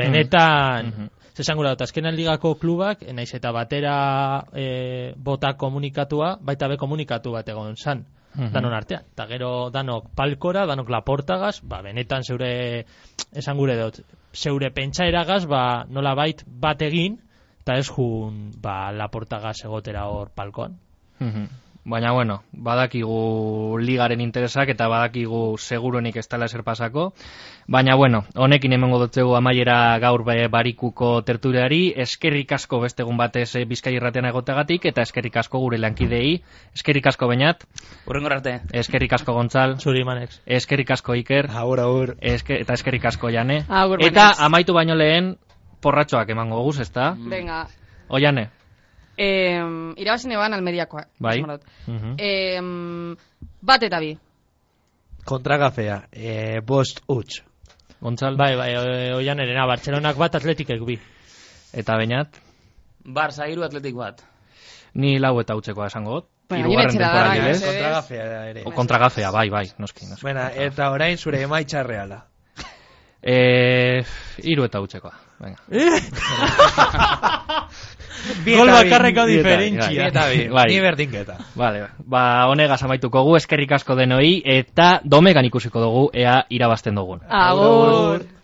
[SPEAKER 3] Benetan, mm
[SPEAKER 1] Mhm.
[SPEAKER 3] gura dut, azkenan ligako klubak, e, naiz eta batera e, bota komunikatua, baita be komunikatu bat egon zan.
[SPEAKER 1] Mhm.
[SPEAKER 3] Danon artean. Eta gero danok palkora, danok laportagaz, ba, benetan zeure, esan gure dut, zeure pentsaeragaz, ba, nola bait bat egin, eta ez jun, ba, laportagaz egotera hor palkoan.
[SPEAKER 1] Mhm. Baina, bueno, badakigu ligaren interesak eta badakigu seguruenik ez dela eser pasako. Baina, bueno, honekin emango dutzegu amaiera gaur be- barikuko tertuleari. Eskerrik asko beste egun batez eh, bizkai irratean egotagatik eta eskerrik asko gure lankidei. Eskerrik asko bainat,
[SPEAKER 4] Urrengor arte.
[SPEAKER 1] eskerrik asko gontzal,
[SPEAKER 3] Zuri manex.
[SPEAKER 1] eskerrik asko iker,
[SPEAKER 5] Ahora, ahora.
[SPEAKER 1] eske, eta eskerrik asko jane.
[SPEAKER 2] Agur,
[SPEAKER 1] Eta
[SPEAKER 2] Manez.
[SPEAKER 1] amaitu baino lehen porratxoak emango guz, ezta?
[SPEAKER 2] Venga.
[SPEAKER 1] Oiane,
[SPEAKER 2] Eh, irabazi neban almeriakoa.
[SPEAKER 1] bai?
[SPEAKER 2] esan behar dut.
[SPEAKER 1] Mhm.
[SPEAKER 2] Eh, bat eta bi.
[SPEAKER 5] Kontra gafea. Eh, bost huts.
[SPEAKER 1] Gontzal,
[SPEAKER 3] Bai, bai, o- oian erena, Bartzelonak bat atletikek bi.
[SPEAKER 1] eta bainat.
[SPEAKER 4] Barça hiru atletik bat.
[SPEAKER 1] Ni lau eta utzekoa esango dut.
[SPEAKER 2] Baina,
[SPEAKER 1] Hirugarren
[SPEAKER 2] gainera
[SPEAKER 5] Bai,
[SPEAKER 2] etxera
[SPEAKER 1] temporaldia,
[SPEAKER 2] gara,
[SPEAKER 1] ez?
[SPEAKER 2] mesedez.
[SPEAKER 5] Kontra gafea ere.
[SPEAKER 1] O kontragafea, bai, bai, noski. noski.
[SPEAKER 5] Bena, eta orain zure emaitza reala.
[SPEAKER 1] Eh, hiru eta utzekoa. Venga.
[SPEAKER 5] Bi
[SPEAKER 3] Gol
[SPEAKER 5] eta bi,
[SPEAKER 3] bakarreko
[SPEAKER 5] bi eta bi,
[SPEAKER 3] diferentzia.
[SPEAKER 5] Bi eta bi,
[SPEAKER 1] Bai.
[SPEAKER 5] ni berdinketa.
[SPEAKER 1] Vale, ba, honegaz amaituko gu, eskerrik asko denoi, eta domegan ikusiko dugu, ea irabazten dugun.
[SPEAKER 2] Agur.